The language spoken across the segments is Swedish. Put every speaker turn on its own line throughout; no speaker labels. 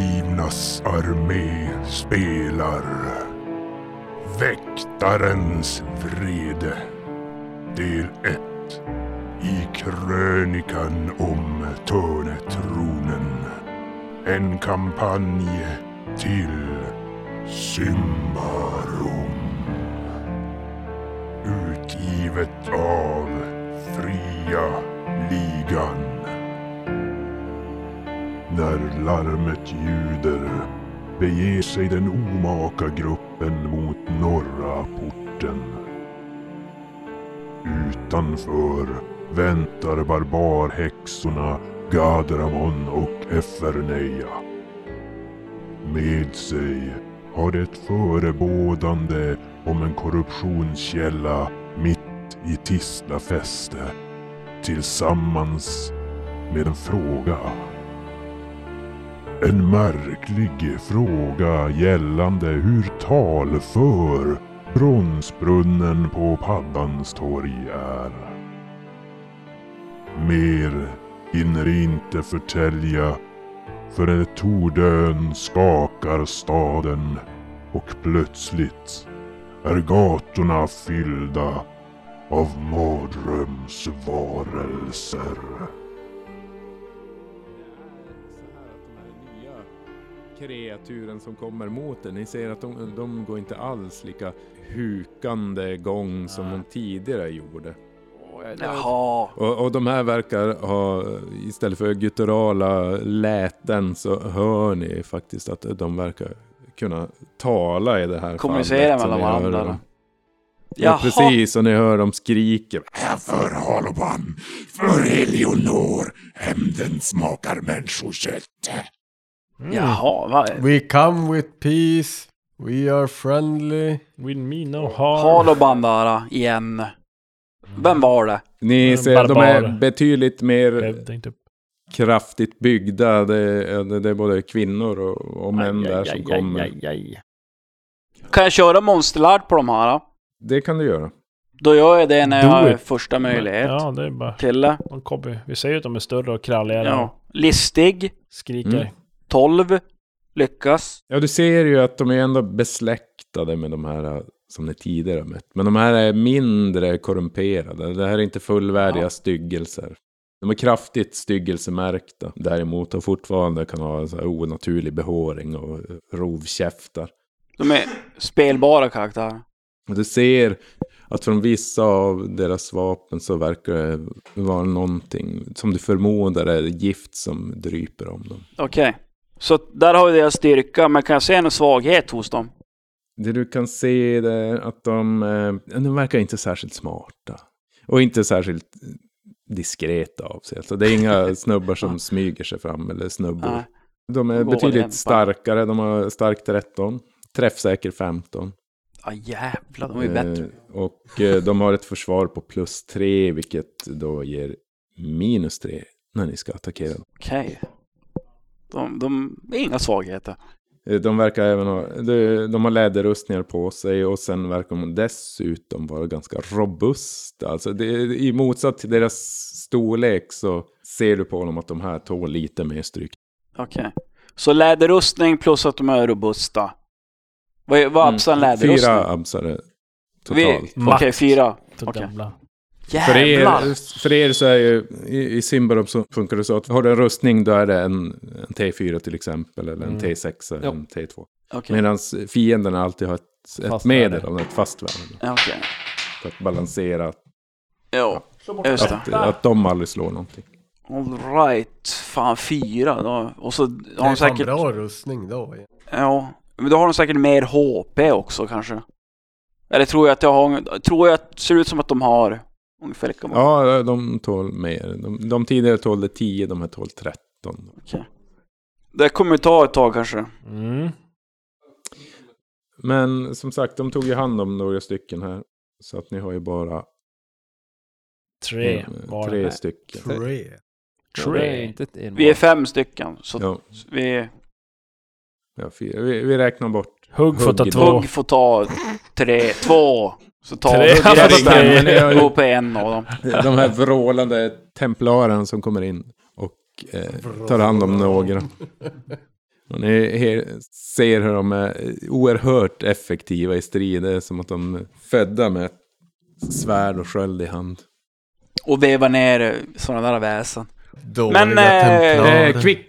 Mördarnas armé spelar Väktarens vrede Del 1 I krönikan om Törnetronen En kampanj till Symbarom Utgivet av Fria Ligan när larmet ljuder beger sig den omaka gruppen mot norra porten. Utanför väntar barbarhäxorna Gadramon och Eferneia. Med sig har det ett förebådande om en korruptionskälla mitt i Tislafäste tillsammans med en fråga. En märklig fråga gällande hur talför bronsbrunnen på Paddans torg är. Mer hinner inte förtälja förrän ett tordön skakar staden och plötsligt är gatorna fyllda av mardrömsvarelser.
så här att de här nya kreaturen som kommer mot er, ni ser att de, de går inte alls lika hukande gång som de tidigare gjorde.
Jaha.
Och, och de här verkar ha, istället för gutturala läten så hör ni faktiskt att de verkar kunna tala i det här
Kommunicera
fallet. så
mellan
ni hör
varandra,
dem.
då.
Ja,
Jaha.
precis. Och ni hör dem skrika.
För Haloban, för Eleonor, hämnden smakar människokött.
Jaha, va?
We come with peace. We are friendly.
With me no harm.
Haloban där igen. Vem var det?
Ni
En
ser, de är
barbar.
betydligt mer
Jag tänkte-
kraftigt byggda. Det är, det är både kvinnor och, och män
Aj,
där
aj,
som
aj,
kommer.
aj, aj.
Kan jag köra monsterlard på de här? Då,
Det kan du göra.
då gör jag det när
Do
jag har
it.
första möjlighet.
Ja, det är bara...
Kille.
De kommer. Vi säger att de är större och kralligare.
Ja. Listig.
Skriker.
Mm.
12. Lyckas.
Ja, du ser ju att de är ändå besläktade med de här eh, som ni tidigare har mött. Men de här är mindre korrumperade. Det här är inte fullvärdiga
Ja.
styggelser. De är kraftigt styggelsemärkta. Däremot och fortfarande kan ha en så här onaturlig behåring och eh, rovkäftar.
De är spelbara karaktärer.
Och du ser att från vissa av deras vapen så verkar det vara någonting som du förmodar är gift som dryper om dem.
Okej. Så där har vi deras styrka, men kan jag se någon svaghet hos dem?
Det du kan se det är att de, eh, de verkar inte särskilt smarta. Och inte särskilt diskreta av sig. Alltså, det är inga snubbar som smyger sig fram eller snubbor.
Nej.
De är
Går
betydligt
lämpar.
starkare. De har stark 13, träffsäker 15.
Ja jävlar, de är ju bättre.
Eh, Och eh, de har ett försvar på plus 3, vilket då ger minus 3 när ni ska attackera. dem.
Okej. De, de är inga svagheter.
Eh, De verkar även ha, de, de har läderrustningar på sig och sen verkar de dessutom vara ganska robusta. Alltså det, i motsats till deras storlek så ser du på dem att de här tål lite mer stryk.
Okej. Så läderrustning plus att de är robusta. Vad är
Mm.
vad absar en läderrustning?
Fyra absare
Vi-
totalt.
Okej, fyra.
Så
Okej.
jävla-
För
Jävlar!
er, för er så är ju, i, i Simbarom så funkar det så att har du en rustning då är det en, en T4 till exempel, eller en
Mm.
T6 eller
Ja.
en T2.
Okej.
Medan fienderna alltid har ett, ett
Fast
medel,
värde.
eller ett fast värde.
Ja, Okej.
För att balansera att,
Jo, just det.
att, att de aldrig slår någonting.
Alright. Fan, fyra. Då. Och så har
Det är
de
säkert...
säkert...
bra rustning då.
Ja. Men då har de säkert mer HP också kanske. Eller tror jag att jag har... Tror jag att... Ser ut som att de har ungefär lika många.
Ja, de tål mer. De, de tidigare tålde 10, de här tål 13.
Det kommer ju ta ett tag kanske.
Mm.
Men som sagt, de tog ju hand om några stycken här. Så att ni har ju bara
Tre
eh,
var det.
tre stycken.
Tre.
Ja, det är
Tre.
inte ett enval.
Vi är fem stycken. Så
Ja,
vi...
ja, fyra. Vi, vi räknar bort
Hugg får ta
Hugg.
två.
Hugg får ta tre, två. Så tar
Tre.
Hugg
Han får ta
tre. Men jag har
resten.
ju-
Gå på en av dem.
de här vrålande templarerna som kommer in och eh, tar hand om några. Och ni he- ser hur de är oerhört effektiva i strid. Det är som att de är födda med svärd och sköld i hand.
Och veva ner sådana där väsen.
Dåliga
Men, eh,
templarer.
Eh, kvick!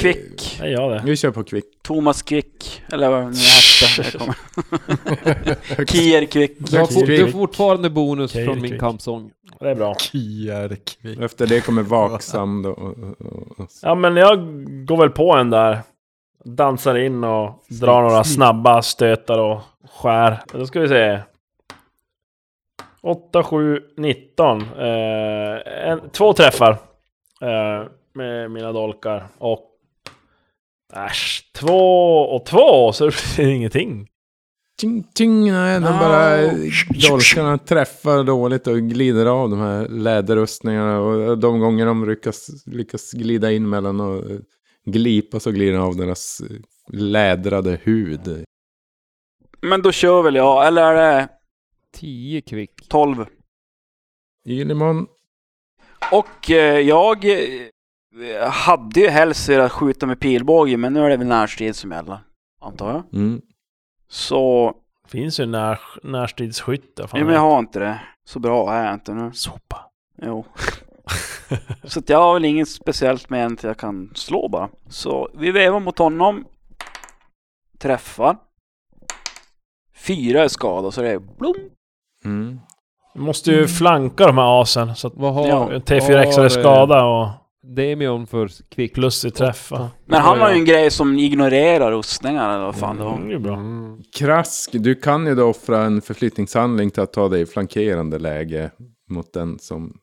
Kvick.
Nej, jag det.
Vi kör på kvick.
Thomas Quick, eller vad den nu hette. Jag kommer- Kier Quick.
Du har, for,
Kvick.
du har fortfarande bonus
Kvick.
från min
Kvick.
kampsång.
Det är bra.
Kierkvik.
Efter det kommer vaksam då. Och, och, och,
Ja, men jag går väl på en där. Dansar in och drar några snabba stötar och skär. Då ska vi se. 8, 7, 19. Eh, en, två träffar. Eh, med mina dolkar. Och... Äsch, två och två, så det blir ingenting.
ting, ting, nej, de
Ah.
bara Ah. dolkarna träffar dåligt och glider av de här läderrustningarna. Och de gånger de lyckas, lyckas glida in mellan och eh, glipa så glider de av deras eh, lädrade hud.
Men då kör väl jag, eller är det
10 kvick.
12?
Ylimon,
Och eh, jag eh, hade ju helst velat skjuta med pilbåge, men nu är det väl närstrid som gäller. Antar jag.
mm.
Så,
Finns ju när, närstridsskytte. fan.
ja, men jag har inte det. Så bra är jag inte nu.
Sopa.
Jo. Så att jag har väl inget speciellt med en att jag kan slå bara. Så vi vevar mot honom. Träffar. Fyra är skada så det är blom.
Mm.
Du måste ju flanka de här asen. Så att
Vad har
Ja,
T4 extra
har,
är skada och
Demion för s- kvick?
plus i träff. va?
Men han har ju en grej som ignorerar rustningar eller vad fan det var.
Mm, det är bra.
Krask, du kan ju då offra en förflyttningshandling till att ta dig i flankerande läge mot den som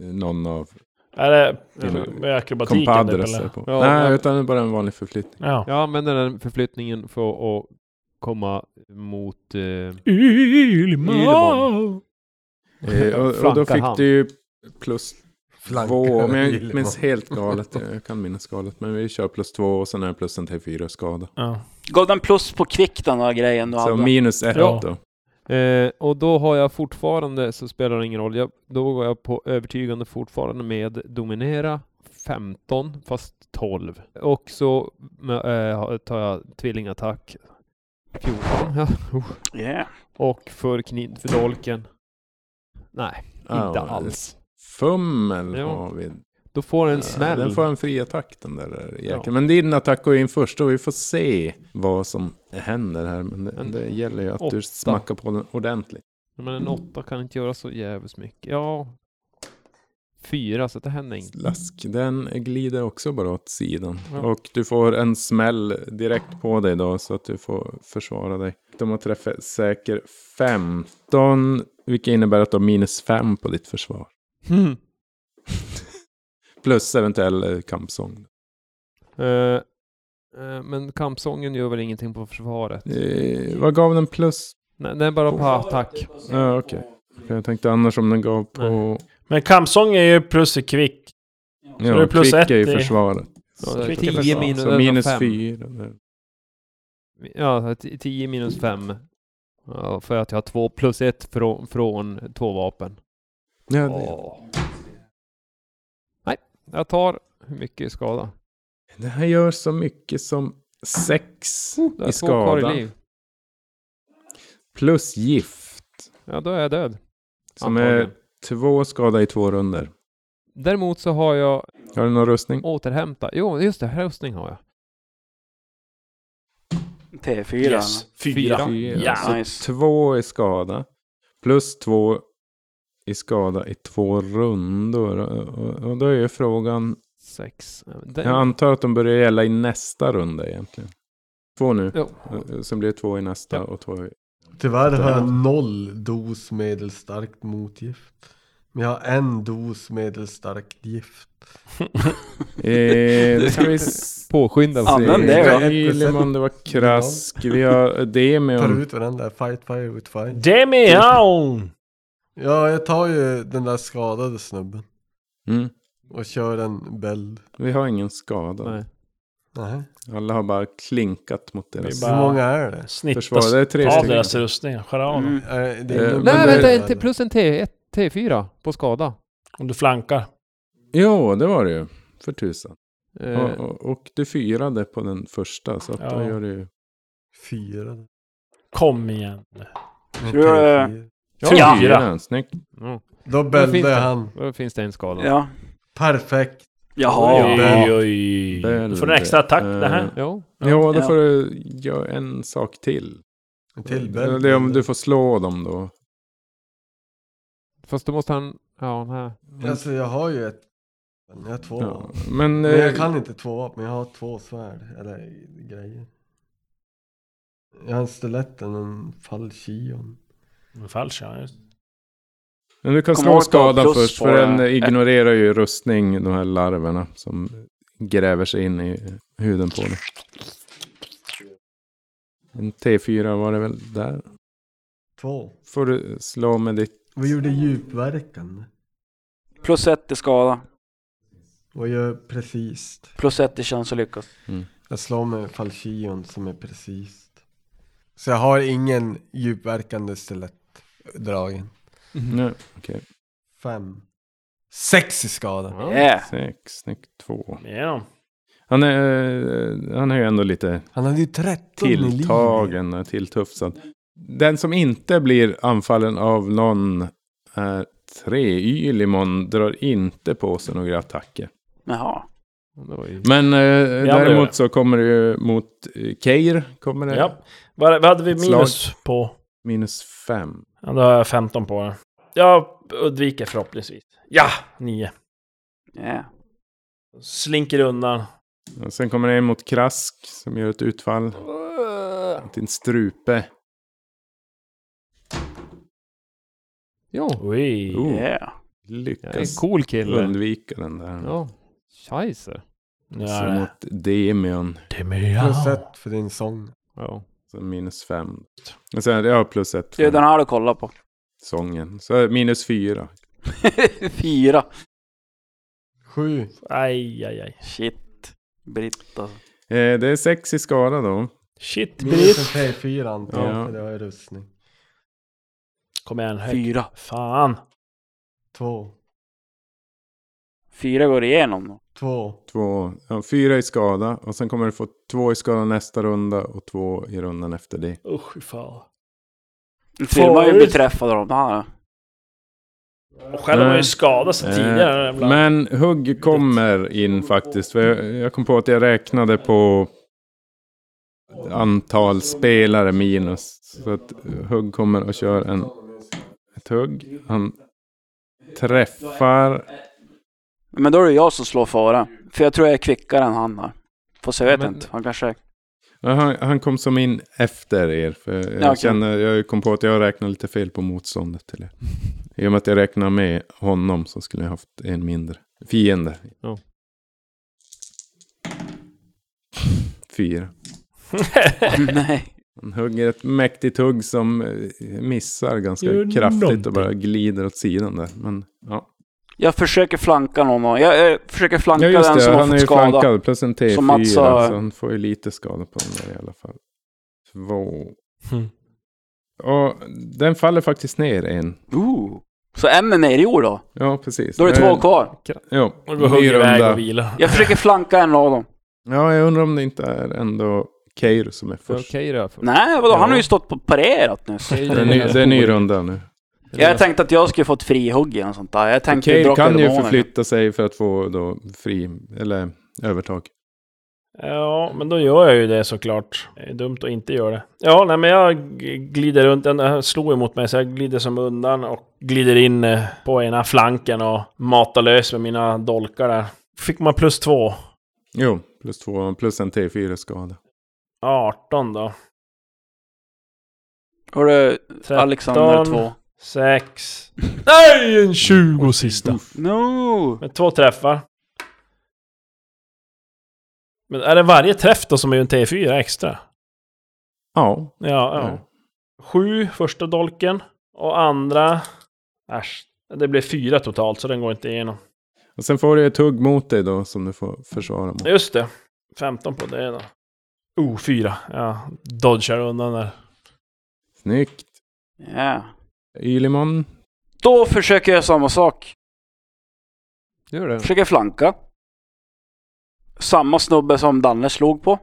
eh, någon av
Är det
Dina
med akrobatiken typ,
kompadres är
eller?
på.
Ja,
Nej,
men-
utan det är bara en vanlig förflyttning.
Ja.
Jag använder den förflyttningen för att komma mot... Eh, Ylemon.
Eh, och, och då
Flankar
fick
han.
du ju plus två, om jag
Flankar
inte minns helt galet. Jag kan minnas galet, men vi kör plus två och sen är det plus en T4 skada.
ja.
Gav den plus på kvick den där grejen du
Så
hade?
minus ett
Ja.
då.
Eh, och då har jag fortfarande, så spelar det ingen roll, jag, då går jag på övertygande fortfarande med Dominera 15, fast 12. Och så med, eh, tar jag tvillingattack 14. Ja. usch.
Yeah.
Och för kniv för dolken. Nej,
Ja,
inte
det-
alls.
Fummel
Ja.
har vi.
Då får den en
Eh,
smäll.
Den får en fri attack den där jäkeln. Men din attack går in först och vi får se vad som händer här. Men det,
En
det gäller ju att
åtta.
du smackar på den ordentligt.
Men en åtta kan inte göra så jävligt mycket. Ja. Fyra, så det händer inget.
Slask, den glider också bara åt sidan.
Ja.
Och du får en smäll direkt på dig då, så att du får försvara dig. De har träffat säker 15, vilket innebär att du har minus 5 på ditt försvar.
Hmm.
Plus eventuell eh, kampsång.
Eh, eh, men kampsången gör väl ingenting på försvaret?
Eh, vad gav den plus?
Nej, nej bara på attack.
Ja, okej. För jag tänkte annars om den gav på...
Men kampsång är ju plus i kvick.
Ja,
det är plus
kvick
ett
är ju
i-
försvaret.
Ja, det är
Kvick i
10
försvar.
minus,
så minus
fem.
4.
Ja, t- 10 minus 5. Ja, för att jag har två plus ett från, från två vapen.
Ja, det,
Åh. Nej, jag tar hur mycket i skada?
det här gör så mycket som 6
Jag
i
har två kvar i
skada.
liv.
Plus gift.
Ja, då är jag död.
Som
antagligen.
är två skada i två runder.
Däremot så har jag
Har du någon rustning?
återhämta. Jo, just det, rustning har jag.
T4.
Fyra.
Ja,
Så
nice.
två i skada. Plus två i skada i två rundor. Och- och- Och då är ju frågan.
Sex.
Jag
Den,
antar att de börjar gälla i nästa runda egentligen. Två nu.
Jo.
Sen blir det två i nästa
Ja.
och två i...
Tyvärr har jag noll dos medelstarkt motgift. Men jag har en dos medelstarkt gift.
Eh, nu ska vi se.
Påskynda.
Ja, men det är
Ylimon, det var Krask. Vi har
Tar
Demion.
ut varandra, fight fire with fire.
Demian!
Ja, jag tar ju den där skadade snubben.
Mm.
Och kör en bäld.
Vi har ingen skada.
Nej.
Nej.
Alla har bara klinkat mot
Vi
deras
bara-
Hur många är det?
Snitta
försvar. Det är tre
av
stycken.
deras rustningar. Skär av dem.
Mm.
Är det
Eh,
ingen
men
Nej,
det-
bäld,
vänta, en
eller?
till- plus en T1, T4 på skada.
Om du flankar.
Jo, det var det ju. För tusan.
Eh,
Och, och, och du fyrade på den första, så att då
Ja.
gör du ju...
Fyra.
Kom igen.
Okej,
du, eh,
fyra.
Ja.
Fyra, snyggt.
ja.
Då
Vad finns
bällde
det?
han.
Då finns det en skada.
Ja.
Perfekt.
Jaha.
Ja.
Oj, oj. Då får du en extra attack det här.
Eh,
Jo.
Ja, då
Ja.
får du göra en sak till.
En till bäll.
Eh, Det är om du får slå dem då.
Fast då måste han... Ja, nej.
Alltså jag har ju ett. Jag har två.
Ja. Men,
Men jag
eh,
kan inte två vapen, jag har två svärd, eller grejer. Jag har en stilett och en fallkion.
Men Falsch, ja. Just.
men du kan
Kom
slå
ihåg att ta
skadan
plus
först,
på
för den eh,
det.
ignorerar ju rustning, de här larverna som gräver sig in i huden på dig. En T4 var det väl där.
Två.
Får du slå med ditt...
Vad gjorde djupverkan?
Plus ett i skada.
Vad gör precis?
Plus ett i chans att lyckas.
Jag slår med falchion som är precis. Så jag har ingen djupverkande stilett dragen.
Nej, okej.
Fem. Sex i skada.
Yeah.
Sex, snyggt. Två.
Igenom.
Han är, eh, han är ju ändå lite
Han hade ju 13 i liv.
tilltagen, eh, tilltufsad. Den som inte blir anfallen av någon är tre. Ylimon drar inte på sig några attacker.
Jaha.
Det var ju...
Men eh,
gör
däremot
det.
så kommer det ju mot eh, Keir. Kommer det
Ja. Vad, vad hade vi
Ett
minus på?
minus fem.
Ja, då har jag 15 på den. Jag undviker förhoppningsvis. Ja! 9.
Yeah.
Slinker undan.
Och sen kommer det en mot Krask som gör ett utfall. Mot din strupe.
Jo.
Oj.
Oh,
Yeah.
Jag är en
lyckas
cool kille.
undvika den där.
Ja. Scheisse.
Ja,
Så
det.
mot Demion.
Plus ett för din sång.
Ja.
Så minus fem. Och sen, ja, plus ett
Det är
för
den här du kollar på.
sången. Så minus fyra.
Fyra.
Sju.
Aj, aj, aj.
Shit. Britt alltså.
Eh, det är sex i skada då.
Shit,
Mm.
Minus
Britt.
en T4 antar jag,
Ja.
för det har jag rustning.
Kom igen, höj.
Fyra.
Fan.
Två.
Fyra går igenom då.
Två.
Två, ja, fyra i skada. Och sen kommer du få två i skada nästa runda och två i rundan efter det.
Usch, fy fan.
Nu filmar ju
Förut.
bli träffad av de här.
Och själv har jag
Nej.
ju skadat sig
Eh,
tidigare. jävla-
Men hugg kommer in faktiskt. För jag, jag kom på att jag räknade på antal spelare minus. Så att eh, hugg kommer och kör en, ett hugg. Han träffar.
Men då är det jag som slår före. För jag tror jag är kvickare än han där. Fast jag vet
Men-
inte. Han kanske är...
Ja, Han, han kom som in efter er. För jag,
okej.
känner, jag kom på att jag räknade lite fel på motståndet till er. I och med att jag räknade med honom så skulle jag haft en mindre fiende.
Ja.
Fyra.
Nej.
Han hugger ett mäktigt hugg som eh, missar ganska
Gör
kraftigt
någonting.
och bara glider åt sidan där. Men ja,
Jag försöker flanka någon. och- Jag, jag försöker flanka
ja just
den
det,
som har
han är
fått
ju
skada.
flankad plus en T4
Som Mats sa-
så han får ju lite skada på den där i alla fall. Två.
Hmm.
Och den faller faktiskt ner en.
Ooh. Så en är ner i jord då?
Ja, precis.
Då är det
Eh,
två kvar.
Ja,
Och gå hugg
ny
iväg
runda.
och vila.
Jag försöker flanka en av dem.
Ja, jag undrar om det inte är ändå Keir som är
För
först.
Keira. För...
Nej, vadå? Han har ju
Ja.
stått på parerat nu.
Keira
Det är ny,
är
det är ny runda nu.
Jag tänkte att jag skulle få ett frihugg eller något sånt där. Jag tänkte
Keir
Drakar
kan ju
Demoner.
förflytta sig för att få då fri, eller övertag.
Ja, men då gör jag ju det såklart. Det är dumt att inte göra det. Ja, nej men jag g- glider runt. Den här slog emot mig så jag glider som undan och glider in eh, på ena flanken och matar lös med mina dolkar där. Fick man plus två.
Jo, plus två, plus en T4 skada.
18 då.
Har du
13,
Alexander 2?
6. Nej, en 20 sista.
No!
Med två träffar. Men är det varje träff då som är en T4 extra?
Ja.
Ja, ja.
Ja.
Sju första dolken. Och andra... Äsch. Det blev fyra totalt, så den går inte igenom.
Och sen får du ett hugg mot dig då som du får försvara mot.
Just det. 15 på det då. Oh, fyra. Ja, dodgar undan där.
Snyggt.
Ja.
Ylimon.
Då försöker jag samma sak.
Gör det.
Försöker flanka. Samma snubbe som Danne slog på.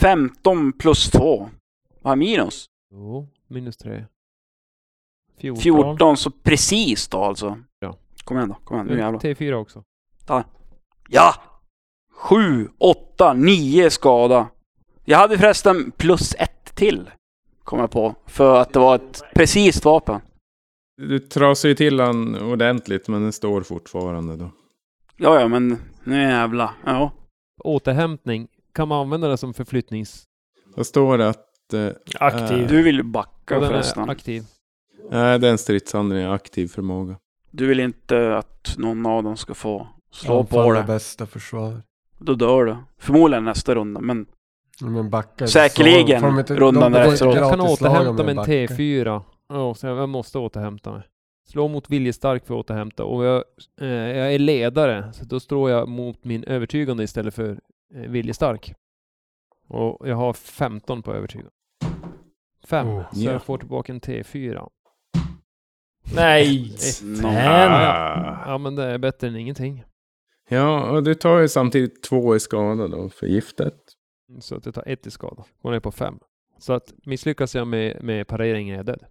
15 plus 2. Vad är minus?
Jo, minus tre. 14.
14, så precis då alltså.
Ja.
Kom igen då, kom igen. Nu jävlar.
T4 Eh, också.
Ja! 7, 8, 9 skada. Jag hade förresten plus ett till. Kom jag på. För att det var ett precis vapen.
Du trasar ju till han ordentligt, men den står fortfarande då.
Ja, ja, men nu jävla. Ja.
Återhämtning. Kan man använda det som förflyttnings...
Då står det att... eh,
Aktiv.
Du vill ju
Ja,
backa
den
förresten.
är aktiv.
Nej, det är en stridshandling, aktiv förmåga.
Du vill inte att någon av dem ska få slå på
Anfall är
det.
bästa försvar.
Då dör du. Förmodligen nästa runda, men
Ja, Men backar.
Säkerligen,
så får de inte-
rundan
de- de får
efteråt.
inte
Jag kan
gratis lag om
återhämta mig en
backar.
T4. Ja, så jag måste återhämta mig. Slå mot viljestark för att återhämta och jag, eh, jag är ledare så då slår jag mot min övertygande istället för eh, viljestark. Och jag har 15 på övertygande. 5.
Oh,
så
ja.
jag får tillbaka en T4.
Nej!
någon-
Ah.
Ja men det är bättre än ingenting.
Ja, och du tar ju samtidigt två i skada då för giftet.
Så att jag tar ett i skada. Går ner på 5. Så att misslyckas jag med, med pareringen är jag död.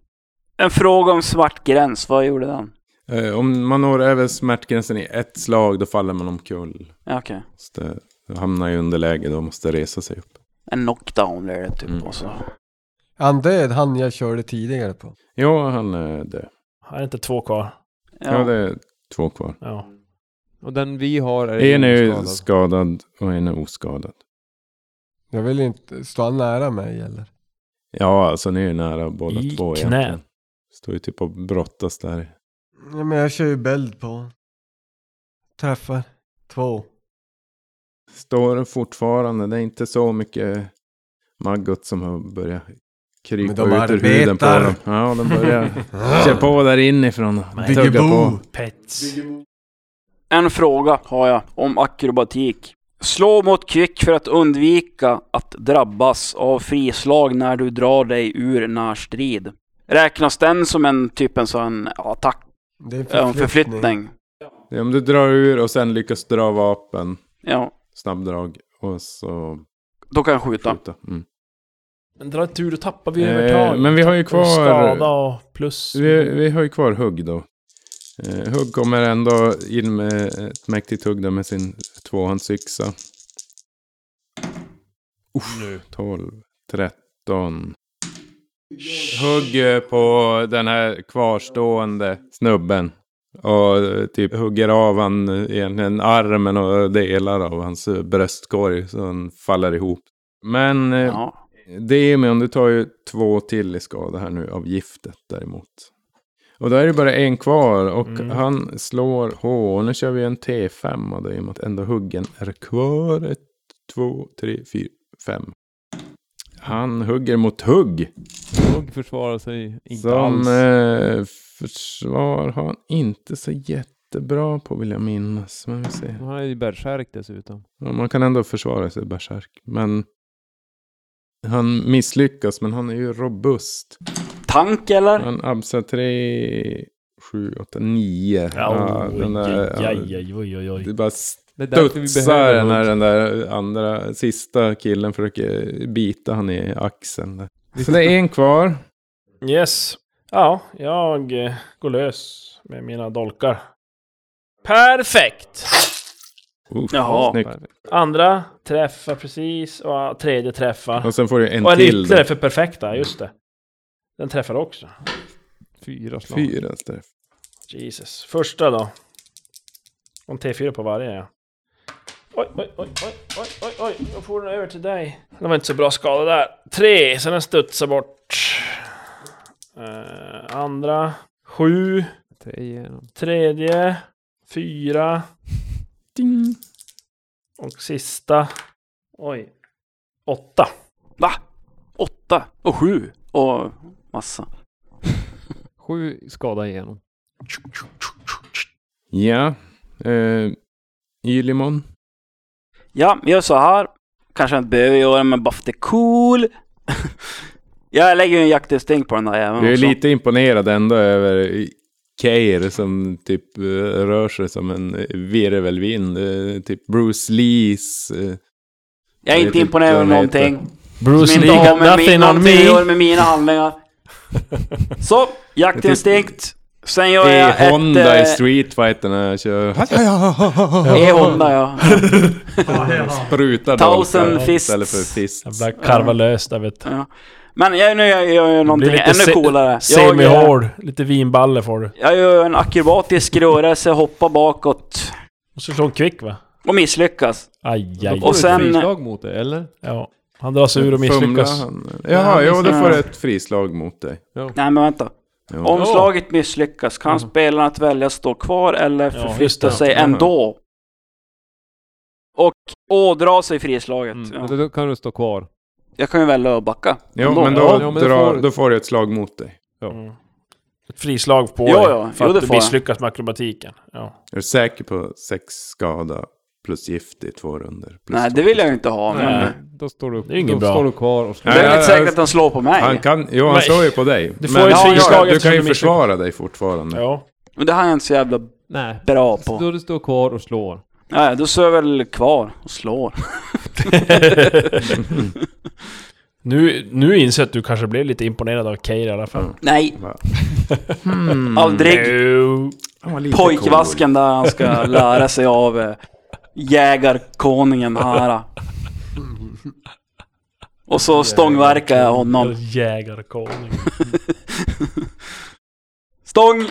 En fråga om svart gräns, vad gjorde den?
Eh, om man når över smärtgränsen i ett slag, då faller man omkull.
Ja, okej.
Så det- Då hamnar i underläge, då måste resa sig upp.
En knockdown blir det typ
Mm.
och så.
Han död, han jag körde tidigare på.
Ja, han är död.
Här är inte två kvar.
Ja,
Ja,
det är två kvar.
Ja.
Och den vi har är
En är ju
oskadad.
skadad och en är oskadad.
Jag vill inte, stå han nära mig eller?
Ja, alltså ni är ju nära båda
I
två
knät.
egentligen. Står ju typ och brottas där.
Ja, men jag kör ju bäld på. Träffar. Två.
Står den fortfarande. Det är inte så mycket maggot som har börjat krypa
Men de
ut ur
arbetar.
huden på dem. Ja, de börjar kör på där inifrån. och Tugga på.
Diggiboo!
Pets.
En fråga har jag om akrobatik. Slå mot kvick för att undvika att drabbas av frislag när du drar dig ur närstrid. Räknas den som en typ en sån attack,
Det är en
en förflyttning?
Det är Om du drar ur och sen lyckas dra vapen,
Ja,
snabbdrag och så
då kan jag skjuta.
skjuta. Mm.
Men dra tur, då tappar vi
Eh,
övertaget.
men vi har ju
Och Skada
kvar...
och plus...
Vi, vi har ju kvar hugg då. Eh, hugg kommer ändå in med ett mäktigt hugg där med sin tvåhandsyxa. Uff, 12, 13. Hugg eh, på den här kvarstående snubben. Och eh, typ hugger av han eh, egentligen armen och delar av hans eh, bröstkorg så han faller ihop. Men eh,
Ja.
Demion, du tar ju två till i skada här nu av giftet däremot. Och då är det bara en kvar och
Mm.
han slår H. Nu kör vi en T5 av det i och med att enda huggen är kvar. Ett, två, tre, fyra, fem. Han hugger mot hugg.
Hugg försvarar sig inte
som
alls.
eh, försvar har han inte så jättebra på vill jag minnas. Men vi ser.
Han är ju bärsärk dessutom.
Ja, man kan ändå försvara sig bärsärk. Men han misslyckas men han är ju robust.
Tank eller?
Han absar 3, 7, 8, 9.
Ja,
den där,
oj, oj, oj, oj, oj.
det bara
Det är därför vi
studsar
behöver
den när
hugg.
den där andra, sista killen försöker bita han i axeln. Där. Så det är en kvar.
Yes. Ja, jag eh, går lös med mina dolkar. Perfekt!
Uff,
Jaha.
Snyggt.
Andra träffar precis och tredje träffar.
Och sen får du en
Och en
till.
ytterligare
Där.
för perfekta, just det. Den träffar också.
Fyra slag.
Fyra träff.
Jesus. Första då. Om T4 på varje ja. Oj, oj, oj, oj, oj, oj, oj, då får den över till dig. Det var inte så bra skada där. Tre, så den studsar bort. Eh, andra. Sju.
Tre igenom.
Tredje. Fyra.
Ding.
Och sista. Oj. Åtta.
Va? Åtta och sju och massa.
Sju skada igenom.
Ja. Eh, Ylimon.
Ja, jag gör så här. Kanske jag inte behöver göra men bara för att det är cool. jag lägger ju en jaktdistinkt på den där jäveln
Du är
också.
lite imponerad ändå över Keir som typ eh, rör sig som en eh, virvelvind. eh, Typ Bruce Lees... eh,
Jag är
Jag
inte
vet
imponerad
inte
över
vad han heter.
någonting.
Bruce
som
Lee
inte har
got
med, min,
nothing on
någonting att göra
me.
med mina handlingar. Så, jaktinstinkt. Sen gör
Det
jag
är eh, Honda i
ett...
Street Fighter när jag kör...
eh, är Honda ja.
Sprutar
Thousand
dolkar
fists.
Istället för fists.
Jävla karva löst, jag vet.
ja. Men jag, nu gör jag ju någonting
lite
ännu
se-
coolare. Jag, eh,
Semi-hård. Lite vinballe får du.
jag gör en akrobatisk rörelse, hoppar bakåt
Måste slå en kvick va?
och misslyckas.
Aj,
Då
aj,
får
Och
du
sen-
ett frislag mot det, eller?
Ja. Han dras ur och misslyckas.
Jaha, jo, då
misslyckas.
får du ett frislag mot dig.
Nej men vänta.
Jo.
Om slaget misslyckas kan spelaren att välja att stå kvar eller
Ja,
förflytta
just det.
sig
Mhm.
ändå. Och ådra sig frislaget.
Mm.
Ja.
men Då kan du stå kvar.
Jag kan ju välja att backa.
Jo,
Ändå.
men då,
Ja, men det
drar,
får du.
då får du ett slag mot dig.
Mm. Ett frislag på
Ja,
dig
ja.
för
Jo, det
att du
får jag.
misslyckas med akrobatiken. Ja.
Är du säker på sex skada plus gift i två runder? Plus
Nej,
två
det vill jag
plus-
ju inte ha. Men
Nej.
Mm. Då står du,
Det är ju inget
då
bra.
står du kvar och slår.
Det är
Nej,
inte
jag-
säkert att han slår på mig.
Han kan, jo, han
Nej.
slår ju på dig.
Du får ett
ja,
frislag
Du
eftersom
kan ju
du misslyckas.
försvara dig fortfarande.
Ja.
Men det här är jag inte så jävla
Nej.
bra
Så
på.
då du står kvar och slår.
Nej, då står jag väl kvar och slår.
Nu, nu inser jag att du kanske blev lite imponerad av Keir i alla fall.
Nej,
Mm.
aldrig.
Jo.
Han var lite
Pojkvasken där han ska lära sig av eh, jägarkonungen här. Mm. Och så stångverkar jag honom.
Jägarkonung.
Stång!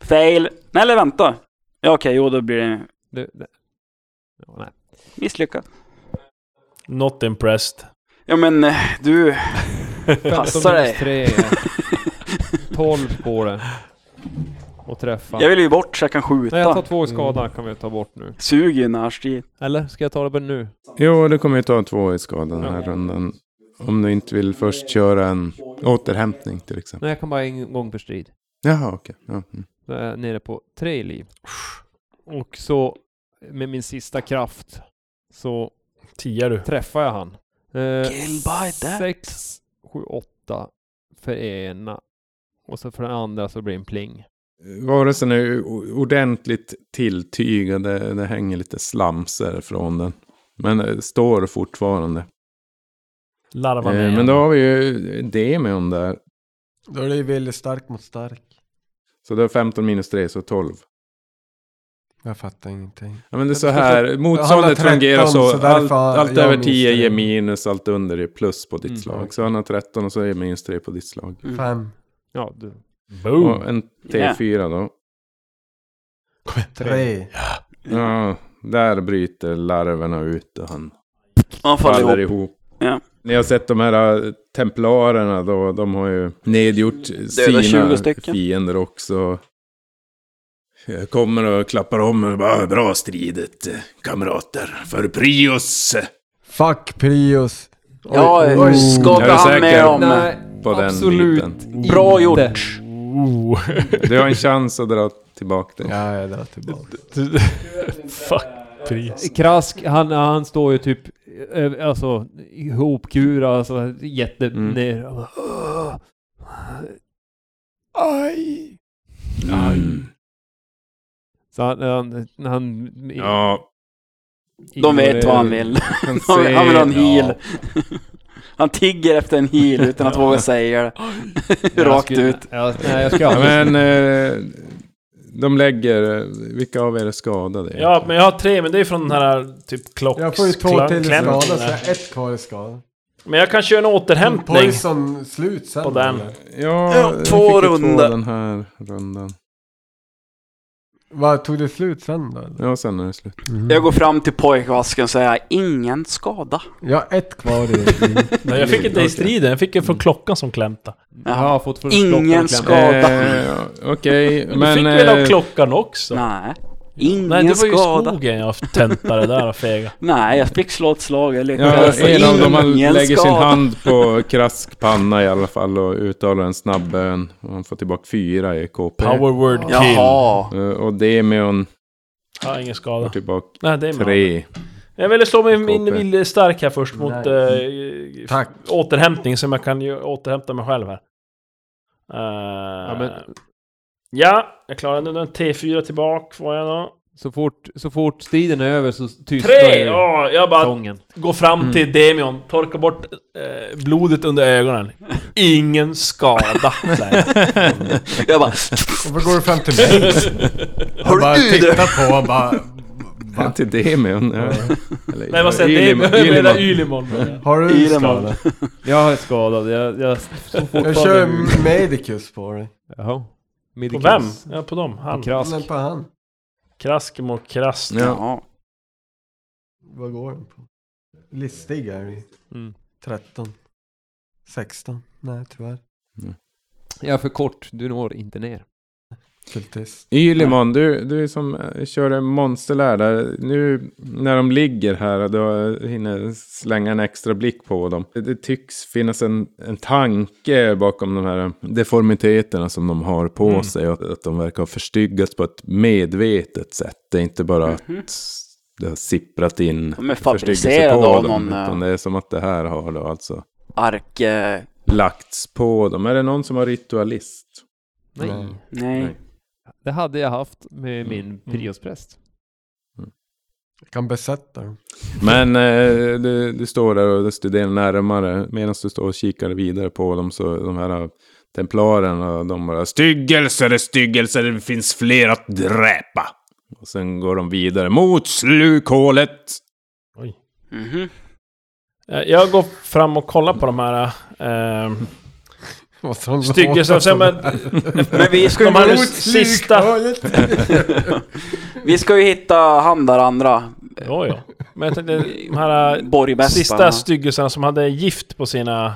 Fail. Nej, eller vänta. Ja, okej, jo då blir det
Det, det. Ja, nej.
misslyckat.
Not impressed.
Ja, men eh, du...
15
Passar dig.
minus 3 är 12 går det. Och träffa.
Jag Mm. vill ju bort så jag kan
Nej, jag tar
skjuta.
två i skada kan vi ta bort nu.
Suger ju närstrid.
Eller? Ska jag ta det på nu?
cool. Jo, du kommer ju ta två i skada den här rundan. Om du inte vill först köra en återhämtning till exempel.
Nej, jag kan bara en gång per strid.
Jaha, okej. Ja. mm.
Då är jag nere på tre i liv. Och så med min sista kraft så
Tia du.
träffar jag han. Eh,
Kill by death.
6, 7, 8 för ena. Och så för den andra så blir det en pling.
Varelsen är ju o- ordentligt tilltygad. Det, det hänger lite slamser från den. Men det står fortfarande.
Larva
Eh,
med.
men då har vi ju Demion där.
Då är det ju väldigt stark mot stark.
Så det är 15 minus 3, så 12.
Jag fattar ingenting.
Ja, men det är så
Jag
här, motståndet
13,
fungerar så.
så
allt
därför
allt
jag
över
minns
10
det.
ger minus, allt under är plus på ditt
Mm.
slag. Så han har 13 och så är minus 3 på ditt slag.
Mm.
Fem.
Ja, du.
Boom.
Och en T4 då.
Tre.
Ja, där bryter larverna ut och han
Han faller ihop.
faller ihop.
Ja.
Ni har sett de här äh, templarerna då, de har ju nedgjort
Döda 20
sina
stycken.
fiender också. Jag kommer och klappar om och bara, bra stridet eh, kamrater, för Prius!
Fuck Prius. Oj,
Ja,
oj, Mm.
eh,
oj.
Är du
skaka hand
säker?
med dem.
Nej,
På den
absolut
biten.
Bra
inte.
gjort.
Oh.
Du har en chans att dra tillbaka det.
Ja, jag drar tillbaka.
Fuck pris.
Krask, han, han står ju typ eh, alltså ihopkurad, alltså jätte...
Mm.
Ner. Aj!
Mm.
Så han... han, han
Ja,
De
Jo,
vet
det-
vad han vill.
kan
Han vill, han vill ha en
se-
heal. Han tigger efter en heal utan att våga säga det.
jag
Rakt
skulle-
ut.
Jag, nej, jag ska
Ja,
aldrig...
men eh, de lägger, eh, vilka av er är skadade?
Ja, men jag har tre, men det är från den här typ klock...
Jag får ju två
klan-
till i skada,
klämmen.
så jag har ett kvar i skada.
Men jag kan köra en återhämtning.
Poison slut sen.
På den.
eller?
Ja,
Ja,
jag
två
fick ju
runder.
Två den här rundan.
Vad, tog det slut sen då? eller?
Ja, sen är det slut.
Mm. Jag går fram till pojkvasken och säger ingen skada.
Jag har ett kvar i... i-
Nej, jag fick inte i striden, jag fick en från klockan som klämta.
jag har fått från
Ingen
klockan-
ska- Skada.
Eh, ja, Okej,
Men du
men...
fick väl av
eh,
klockan också?
Nej. Ingen
Nej, det var ju
skada.
skogen jag töntade där och fega.
Nej, jag fick slå ett slag. Jag
Ja,
lyckades.
en av dem han
Alltså, Ingen
lägger sin
skada.
hand på krask panna i alla fall och uttalar en snabb bön. Och han får tillbaka fyra i KP.
Power word kill.
Jaha.
Eh, Och Demion
Ja, ingen
får
skada.
tillbaka
Nej, det är man.
tre.
Jag ville slå min, min
KP.
vilje stark här först mot
Nej.
eh,
Tack.
återhämtning som jag kan ju återhämta mig själv här. Eh,
Ja, men
Ja, jag klarade den. T4 tillbaka får jag då.
Så fort, så fort striden är över så tystar
Tre!
ju
Ja, jag bara
sången.
går fram till Demion, torkar bort eh, blodet under ögonen. Ingen skada. säger jag.
Jag bara...
Varför går du fram till mig?
Hör
Jag bara
du det?
tittar på och bara...
Ja,
Va?
till Demion. Ja. Eller-
Nej vad säger
Ylim-
Demion? Jag menar
Ylimon.
Ylimon.
Har du
Ilan.
skada?
Jag är skadad, jag... Jag, så
Jag kör medicus på dig.
Jaha.
På
Midicus.
vem? Ja, på dem. Han.
Krask.
Men på han.
Krask mot krast.
Ja.
Ja.
Vad går den på? Listig är vi.
Mm.
13. 16. Nej, tyvärr.
Jag är för kort, du når inte ner.
Kultist.
Ylimon, du, du som eh, körde monsterlär där. Nu när de ligger här, då hinner jag slänga en extra blick på dem. Det, det tycks finnas en, en tanke bakom de här deformiteterna som de har på
Mm.
sig. Och att, att de verkar ha förstyggats på ett medvetet sätt. Det är inte bara
Mhm.
att det har sipprat in
De är
förstyggelse
fabricerade
på
av
dem,
någon, eh,
Utan det är som att det här har då alltså
Ark... Eh,
lagts på dem. Är det någon som har ritualist?
Nej.
Nej.
nej.
Nej.
Det hade jag haft med
Mm.
min priuspräst.
Jag kan besätta dem.
Men eh, du, du står där och studerar närmare. Medan du står och kikar vidare på dem så de här eh, templarerna, de bara styggelser, styggelser, det finns fler att dräpa. Och sen går de vidare mot slukhålet.
Mhm.
Eh, Jag går fram och kollar på de här... Eh,
Måste de
Styggelser,
låta
sen
som-
Men vi ska, ju,
de här
Mot
sista...
slukhålet.
vi ska ju hitta han där andra.
Jo, jo. Men jag tänkte de här eh,
Borgmästarna.
sista styggelserna som hade gift på sina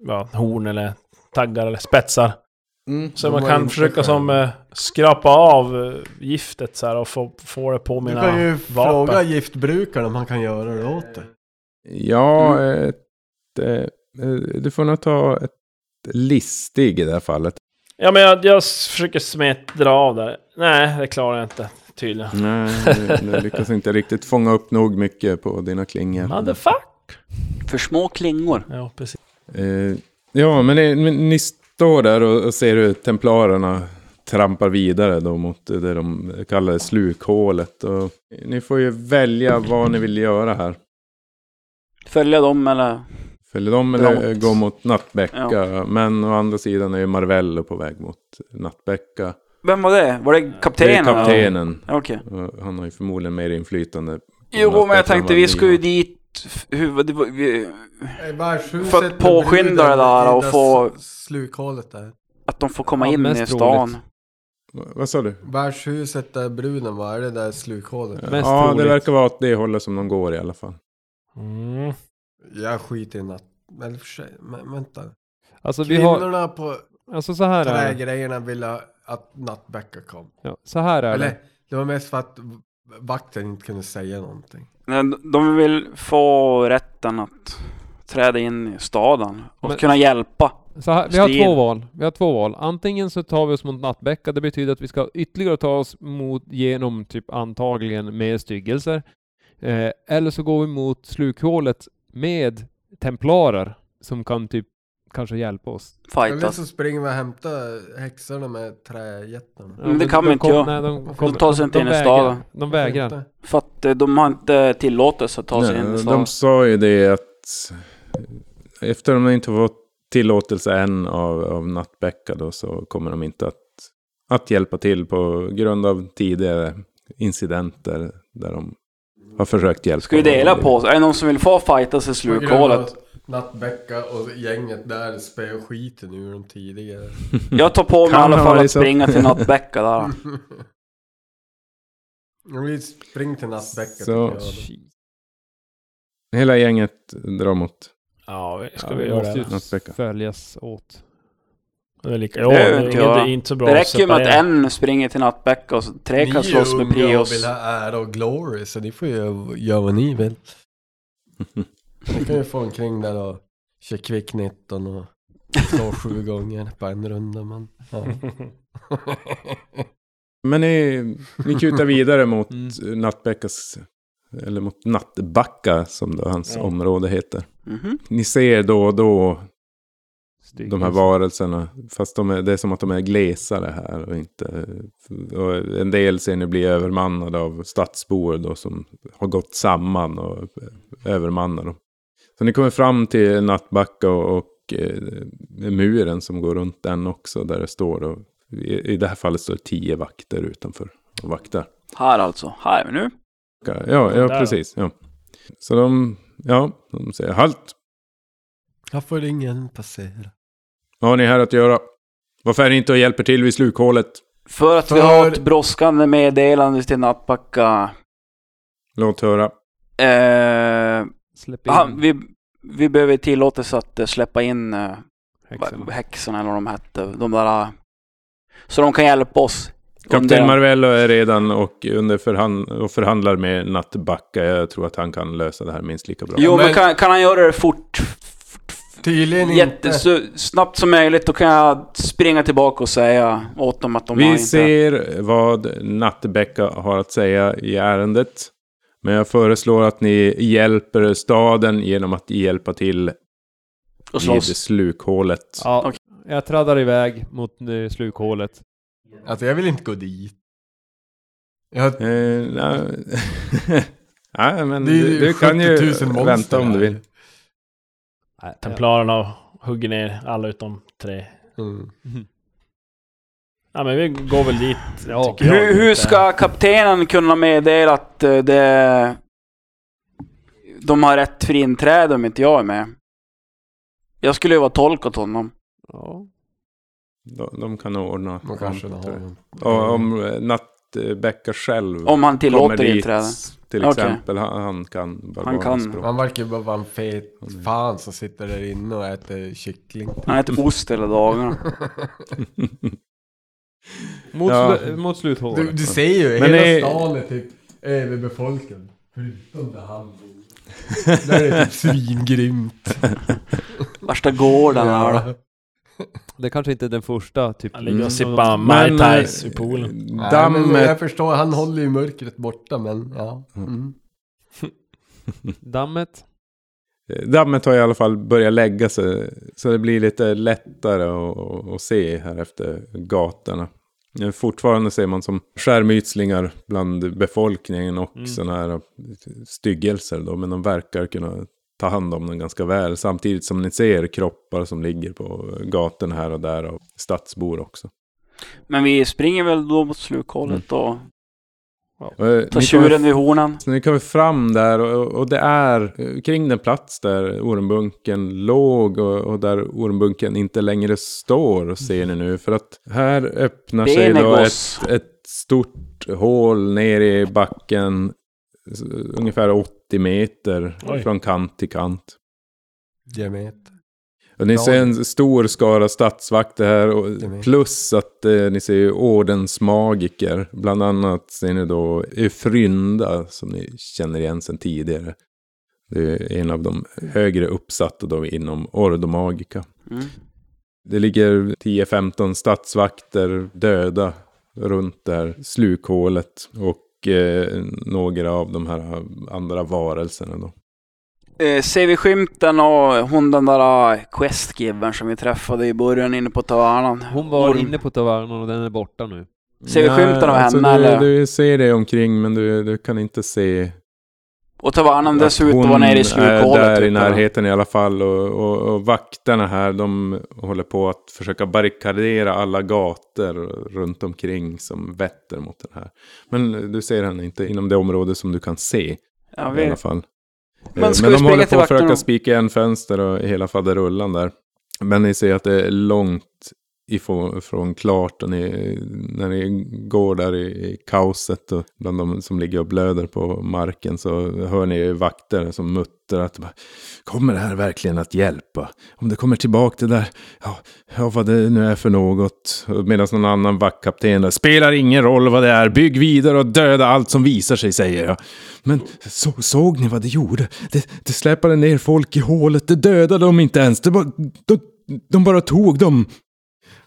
ja, horn eller taggar eller spetsar. Så
Mm.
De
man
var
kan
inte
försöka
sköna.
som eh, skrapa av eh, giftet så här och få, få det
Du
på mina
kan ju
vapen.
fråga giftbrukaren om han kan göra det åt dig.
Ja, ett, eh, eh, du får nog ta ett listig i det här fallet.
Ja men jag, jag s- försöker smet dra av där. Nej, det klarar jag inte tydligen.
Nej, du, du lyckas inte riktigt fånga upp nog mycket på dina klingor.
Mm.
Motherfuck!
För små klingor.
Ja, precis.
Eh, ja, men ni, men ni står där och, och ser hur templarerna trampar vidare då mot det de kallar slukhålet. Och ni får ju välja vad ni vill göra här.
Följa dem eller...
Följer de eller
Framåt.
gå mot Nattbäcka? Men å andra sidan är ju Marvello på väg mot Nattbäcka.
Vem var det? Var det
Det är
kaptenen?
kaptenen.
Ja, Okej.
Och Han har ju förmodligen mer inflytande. på
Jo, men
Nattbäcka
jag
än
tänkte
vad
vi
ni
ska ju
har.
dit... Hur, det var- vi,
För
För att påskynda det där och få-
Slukhålet där.
att de får komma
Ja,
in
mest
i stan.
Va- Vad sa du?
Värdshuset där bruden var, är det där slukhålet?
Mest
ja,
troligt.
det verkar vara åt det hållet som de går i alla fall.
Mm.
Jag skiter i natt. Men i och för sig, men vänta.
Alltså vi har...
Kvinnorna på
Alltså så här är det.
trägrejerna ville att Nattbäcka kom.
Ja, så här är det.
Eller det var mest för att v- vakten inte kunde säga någonting.
Men De vill få rätten att träda in i staden och
Men-
kunna hjälpa.
Så här, vi har
Stil.
två val. Vi har två val. Antingen så tar vi oss mot Nattbäcka, det betyder att vi ska ytterligare ta oss mot, genom typ antagligen mer styggelser. Eh, eller så går vi mot slukhålet med templarer som kan typ kanske hjälpa oss.
Eller
Fightas.
så springer vi och hämtar häxorna med träjättarna.
Ja,
Men Mm, det kan vi inte göra.
nej, de,
De
kommer-
tar sig inte in i
vägrar.
staden.
De vägrar.
Inte.
För att eh, de har inte tillåtelse att ta sig in i staden.
De sa ju det att efter de inte fått tillåtelse än av, av Nattbäcka då så kommer de inte att, att hjälpa till på grund av tidigare incidenter där de har försökt hjälpa.
Ska vi dela
varandra.
på oss? Är det någon som vill få fightas i
På grund av
slukhålet?
att Nattbäcka och gänget där spöade skiten ur dem tidigare.
Jag tar på mig i
Kan
alla
ha
fall
varit
att
så.
springa till Nattbäcka där.
Om vi springer till Nattbäcka
Så.
tycker jag då.
Shit.
Hela gänget drar mot
Ja, vi- ska
Ja,
vi
vi
göra
måste
det?
ju
Nattbäcka.
följas åt.
Det är lika. Jo,
Det
det
behöver
är
inte jag.
inte, inte så bra
Det räcker ju med att
separera.
en springer till Nattbäcka och så tre kan
Ni
slåss med
unga och
Prios.
vill ha ära och glory, så ni får ju göra vad ni vill. Ni kan ju få omkring där och köra kvick 19 och slå sju gånger på en runda. Men, ja.
Men ni, ni kutar vidare mot
Mm.
Nattbäckas, eller mot Nattbacka som då hans
Ja.
område heter.
Mhm.
Ni ser då och då
stycken.
De här varelserna. Fast de är, det är som att de är glesare här. Och inte, och en del ser ni bli övermannade av stadsbor då, som har gått samman och övermannar dem. Så ni kommer fram till Nattbacka och, och eh, muren som går runt den också. Där det står då, i, i det här fallet står det tio vakter utanför och vaktar.
Här alltså. Här är vi nu.
Ja, ja
Där.
precis. Ja. Så de, ja, de säger halt.
Här får ingen passera.
Vad har ni här att göra? Varför är ni inte och hjälper till vid slukhålet?
För att vi
För-
har ett brådskande meddelande till Nattbacka.
Låt höra.
Eh,
Släpp in
han, vi, vi behöver tillåtelse att eh, släppa in eh,
Liksom.
häxorna.
va- häxorna eller vad de hette. De där... eh, Så de kan hjälpa oss.
Kapten
under-
Marvello är redan och, under förhand och förhandlar med Nattbacka. Jag tror att han kan lösa det här minst lika bra.
Jo, men
Men-
kan, kan han göra det fort?
Tydligen inte.
Jättesnabbt som möjligt, då kan jag springa tillbaka och säga åt dem att de har
Vi
inte...
ser vad Nattbacka har att säga i ärendet. Men jag föreslår att ni hjälper staden genom att hjälpa till
och
vid
slåss.
slukhålet.
Ja,
Okej.
Jag traddar iväg mot eh, slukhålet.
Alltså jag vill inte gå dit. Jag,
Eh, nej. nej, men
det är
du, du kan ju
70 000 monster
vänta om
här.
du vill.
Nej,
Templarerna hugger ner alla utom tre.
Mm.
Ja men vi går väl dit.
Ja.
tycker jag.
Hur, hur ska kaptenen kunna meddela att eh, det... De har rätt för inträde om inte jag är med? Jag skulle ju vara tolk åt honom.
Ja.
De, de kan nog ordna.
Man kanske har honom.
Och om eh, Nattbäcka själv
Om han
kommer
tillåter
dit,
inträde.
Till
Okej.
exempel, han, han kan bara
Han kan.
Han verkar ju bara vara en fet
Mm.
fan som sitter där inne och äter kyckling.
Han äter ost hela dagarna.
Mot,
Ja.
slu, mot slukhålet.
Du, du ser ju,
Men
hela
det-
stan är typ överbefolkad. Förutom där han bor. Där är det typ svingrymt.
Värsta gården här då.
Ja.
Det kanske inte är den första typ.
Han ligger
Mm.
och sippar
Men,
Mai
eh,
Tais i poolen.
Nej, men
Dammet,
Jag förstår, han håller ju mörkret borta men ja. Mm.
Dammet.
Eh, dammet har i alla fall börjat lägga sig. Så det blir lite lättare att- att, att se här efter gatorna. Men Fortfarande ser man som skärmytslingar bland befolkningen och
Mm.
sådana här eh, styggelser. Då, men de verkar kunna ta hand om den ganska väl. Samtidigt som ni ser kroppar som ligger på gatorna här och där. Och stadsbor också.
Men vi springer väl då mot slukhålet och
Mm. Och, eh,
tar
ni kommer-
tjuren vid hornen.
Så nu kommer vi fram där och, och det är eh, kring den plats där ormbunken låg och, och där ormbunken inte längre står ser ni nu. För att här öppnar sig då ett,
Benegos.
ett stort hål ner i backen. s- Ungefär 80 meter
Oj.
från kant till kant.
Diameter.
Och ni
Ja.
ser en stor skara statsvakter här.
Det
Och
med.
plus att eh, ni ser ju ordensmagiker. Bland annat ser ni då Efrynda som ni känner igen sedan tidigare. Det är en av de högre uppsatta då inom ordomagica.
Mm.
Det ligger 10-15 statsvakter döda runt det här slukhålet. Och eh, några av de här andra varelserna då.
Eh, ser vi skymten av hon den där eh, questgivern som vi träffade i början inne på tavernan?
Hon var
Orm.
inne på tavernan och den är borta nu.
Ser vi
Nej,
skymten av henne,
alltså, du,
eller?
Du ser det omkring men du, du kan inte se
Och tavernan
Att
dessutom var nere i
Hon
slukhålet.
är där i
typ, eller?
närheten i alla fall. Och, och, och vakterna här, de håller på att försöka barrikadera alla gator runt omkring som vetter mot den här. Men du ser henne inte inom det område som du kan se
Jag
i alla
vet.
fall.
Men
Men,
ska
Eh, Men
vi
de
springa
håller
till
på att
vakterna?
försöka spika igen fönster och hela faderullan där. Men ni ser att det är långt ifrån från klart och ni, när ni går där i, i kaoset och bland de som ligger och blöder på marken så hör ni vakter som muttrar att bara, kommer det här verkligen att hjälpa? Om det kommer tillbaka det där, ja, ja vad det nu är för något. Och Medan någon annan vaktkapten där, spelar ingen roll vad det är, bygg vidare och döda allt som visar sig säger jag. Men så, såg ni vad det gjorde? Det, det släpade ner folk i hålet, det dödade dem inte ens, det bara, de, de bara tog dem.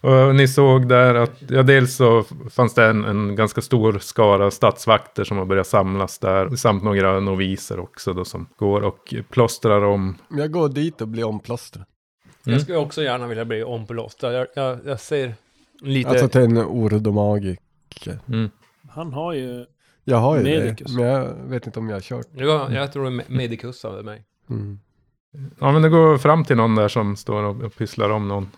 Och ni såg där att, ja dels så fanns det en, en ganska stor skara statsvakter som har börjat samlas där. Samt några noviser också då som går och plåstrar om.
Jag går dit och blir omplåstrad.
Mm.
Jag skulle också gärna vilja bli ompelåst. Jag, jag, jag ser lite...
Alltså till en orodomagi.
Han har ju...
Jag har ju
Medicus.
det, men jag vet inte om jag har kört.
Ja, jag tror det är me- Medicus av mig.
Mm.
Ja, men det går fram till någon där som står och och pysslar om någon.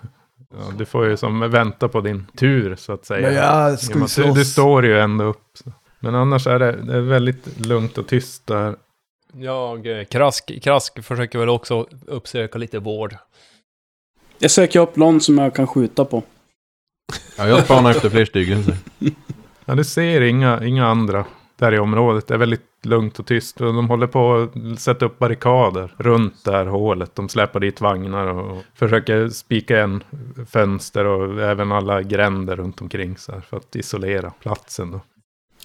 Ja, du får ju som vänta på din tur så att säga.
Men jag
Ja,
ska
men
ju
du, du
slåss.
står ju ändå upp. Så. Men annars är det, det är väldigt lugnt och tyst där.
Jag, eh, krask, krask försöker väl också uppsöka lite vård.
Jag söker upp någon som jag kan skjuta på.
Ja, jag spanar efter fler stycken. Så.
Ja, du ser inga, inga andra där i området. Det är väldigt lugnt och tyst. Och De håller på att sätta upp barrikader runt det här hålet. De släpar dit vagnar och försöker spika igen fönster och även alla gränder runt omkring så här för att isolera platsen. Då.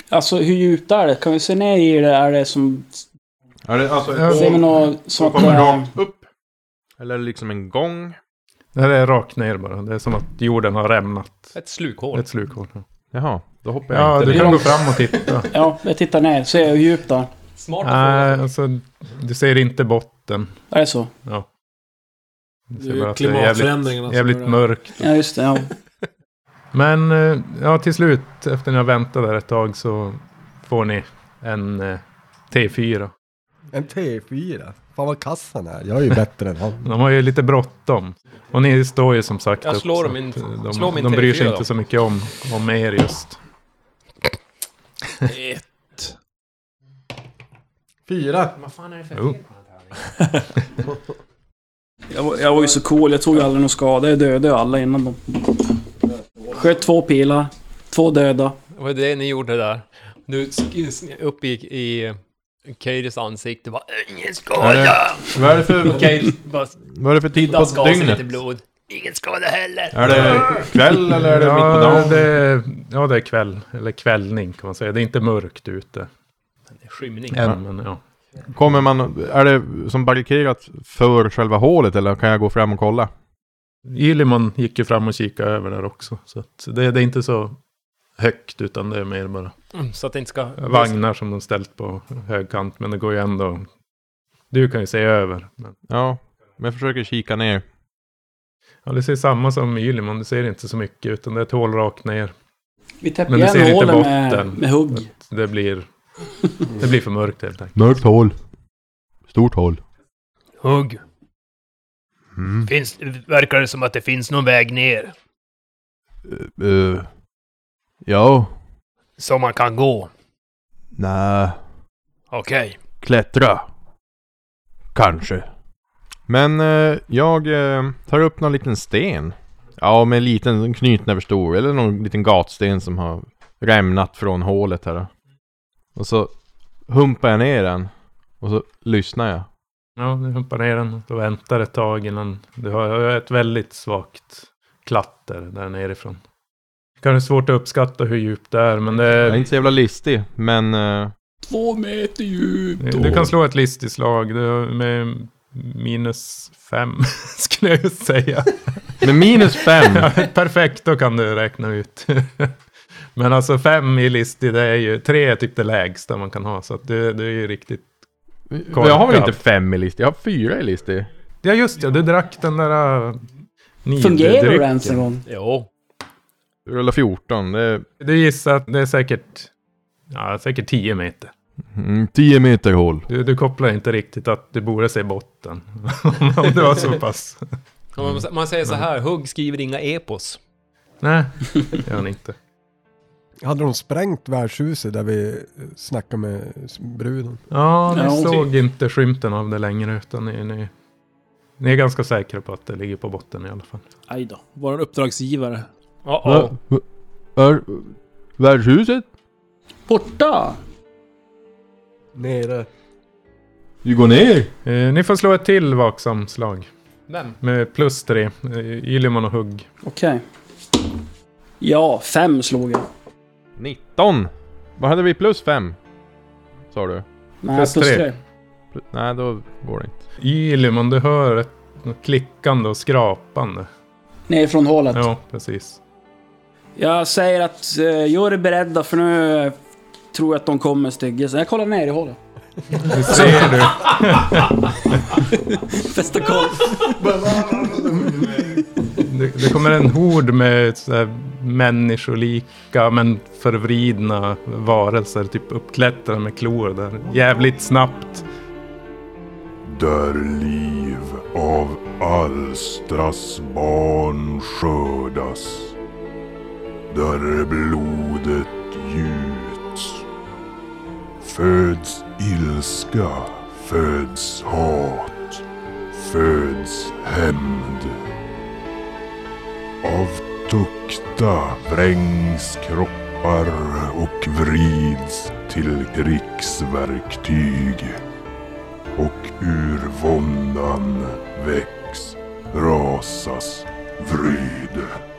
Alltså hur djupt är det? Kan vi se ner i det? Är det som...
Är det alltså
Ja.
Ser vi
ett hål
något som
som
att det
kommer
är...
rakt upp? Eller är det liksom en gång?
Det här är rakt ner bara. Det är som att jorden har rämnat.
Ett slukhål.
Ett slukhål.
Jaha, då hoppar jag
Ja,
inte.
du
ner.
kan gå fram och titta.
Ja, jag tittar ner. Ser jag hur djupt det är?
Smart
Nej,
att
alltså du ser inte botten.
Är det så?
Du
Det
ser
är alltså, ju
eh,
bara att det är jävligt,
klimatförändringarna som gör
jävligt
det.
mörkt.
Ja, just det. Ja.
Men eh, ja, till slut, efter ni har väntat där ett tag så får ni en eh, T4.
En T4. Fan vad kass han är. Jag är ju bättre än han.
De har ju lite bråttom. Och ni står ju som sagt
Jag slår
så
dem in-
att, eh, de,
slå min
de bryr sig
T4
inte
då.
så mycket om, om er just.
Fyra.
Vad fan är det för
Jo.
fel på den här?
Jag, var- jag var ju så cool. Jag tog aldrig någon skada. Jag dödade ju alla innan dem. Sköt två pilar. Två döda.
Det var det ni gjorde där. Du sk- s- upp i, i Katies ansikte bara Ingen
Är det-
skada!
Vad är det för,
Katie bara
vad är det för tid på
daskade lite
dygnet?
blod. Ingen skada heller!
Är det kväll eller är det mitt på
Ja
dagen?
det, ja, det är kväll. Eller kvällning kan man säga. Det är inte mörkt ute
Skymning.
än.
Ja.
Men, ja.
Kommer man, är det som barrikaderat för själva hålet eller kan jag gå fram och kolla?
Ylimon gick ju fram och kikade över där också. Så att det, det är inte så högt utan det är mer bara
Mm, Så att det inte ska...
vagnar som de ställt på högkant. Men det går ju ändå. Du kan ju se över. Men,
Ja, men jag försöker kika ner.
ja, du ser samma som Ylimon. Du ser inte så mycket utan det är ett hål rakt ner.
Vi
Men
täpper
du ser
igen
inte
hålen med,
botten.
med hugg.
Det blir, det blir för mörkt helt enkelt.
Mörkt hål. Stort hål.
Hugg.
Mm.
Finns, verkar det som att det finns någon väg ner
Eh, eh, ja,
som man kan gå?
nej.
Okej.
Klättra. Kanske. Men eh, jag eh, tar upp någon liten sten. Ja, med en liten knytnäve stor. Eller någon liten gatsten som har rämnat från hålet här. då. Och så humpar jag ner den. Och så lyssnar jag.
Ja, du hoppar ner den och väntar ett tag innan. Du har ett väldigt svagt klatter där nerifrån. Kanske svårt att uppskatta hur djupt det är, men det
Jag är
är,
inte så jävla listig, men... eh,
Två meter djupt.
du kan slå ett listigt slag Du- med minus fem, skulle jag just säga.
Med minus fem!
Ja, perfekt, då kan du räkna ut. Men alltså fem i listig, det är ju tre är typ det lägsta man kan ha. Så att det, det är ju riktigt...
jag har väl inte fem i listig? Jag har fyra i listig.
Ja just det, du drack den där... äh,
Fungerar det
nildrycken.
ens en gång?
Jo.
Du rullar 14. Det är
Du gissar att det är säkert... Ja, säkert 10 meter.
mm, 10 meter hål.
Du, du kopplar inte riktigt att du borde se botten. Om det var så pass.
Ja, men Man, man säger så här, Hugg skriver inga epos.
Nej, det gör han inte.
Hade de sprängt värdshuset där vi snackade med bruden?
Ja, ni
Ja, och-
såg inte skymten av det längre. Utan ni, ni, ni är ganska säkra på att det ligger på botten i alla fall.
Aj då.
Vår uppdragsgivare.
Ja,
Va- va- Är värdshuset?
Borta!
Nere.
Du går ner?
Eh, ni får slå ett till vaksamslag.
Vem?
Med plus tre. Eh, Ylimon och hugg.
Okej. Ja, fem slog jag.
19! Vad hade vi plus 5? Sa du?
Nej, plus,
Plus
plus
tre.
tre.
Pl- Nej, då går det inte.
Ylimon, du hör ett något klickande och skrapande.
Ner från hålet.
Ja, precis.
Jag säger att eh, gör er beredda för nu eh, tror jag att de kommer stygga. Så jag kollar ner i hålet.
Det ser du.
Fästa koll.
Det, det kommer en hord med så här människolika men förvridna varelser, typ uppklättrade med klor där. Jävligt snabbt.
Där liv av Alstras barn skördas. Där blodet gjuts. Föds ilska, föds hat, föds hämnd. Av tukta vrängs kroppar och vrids till krigsverktyg och ur våndan väcks, rasas, vryder.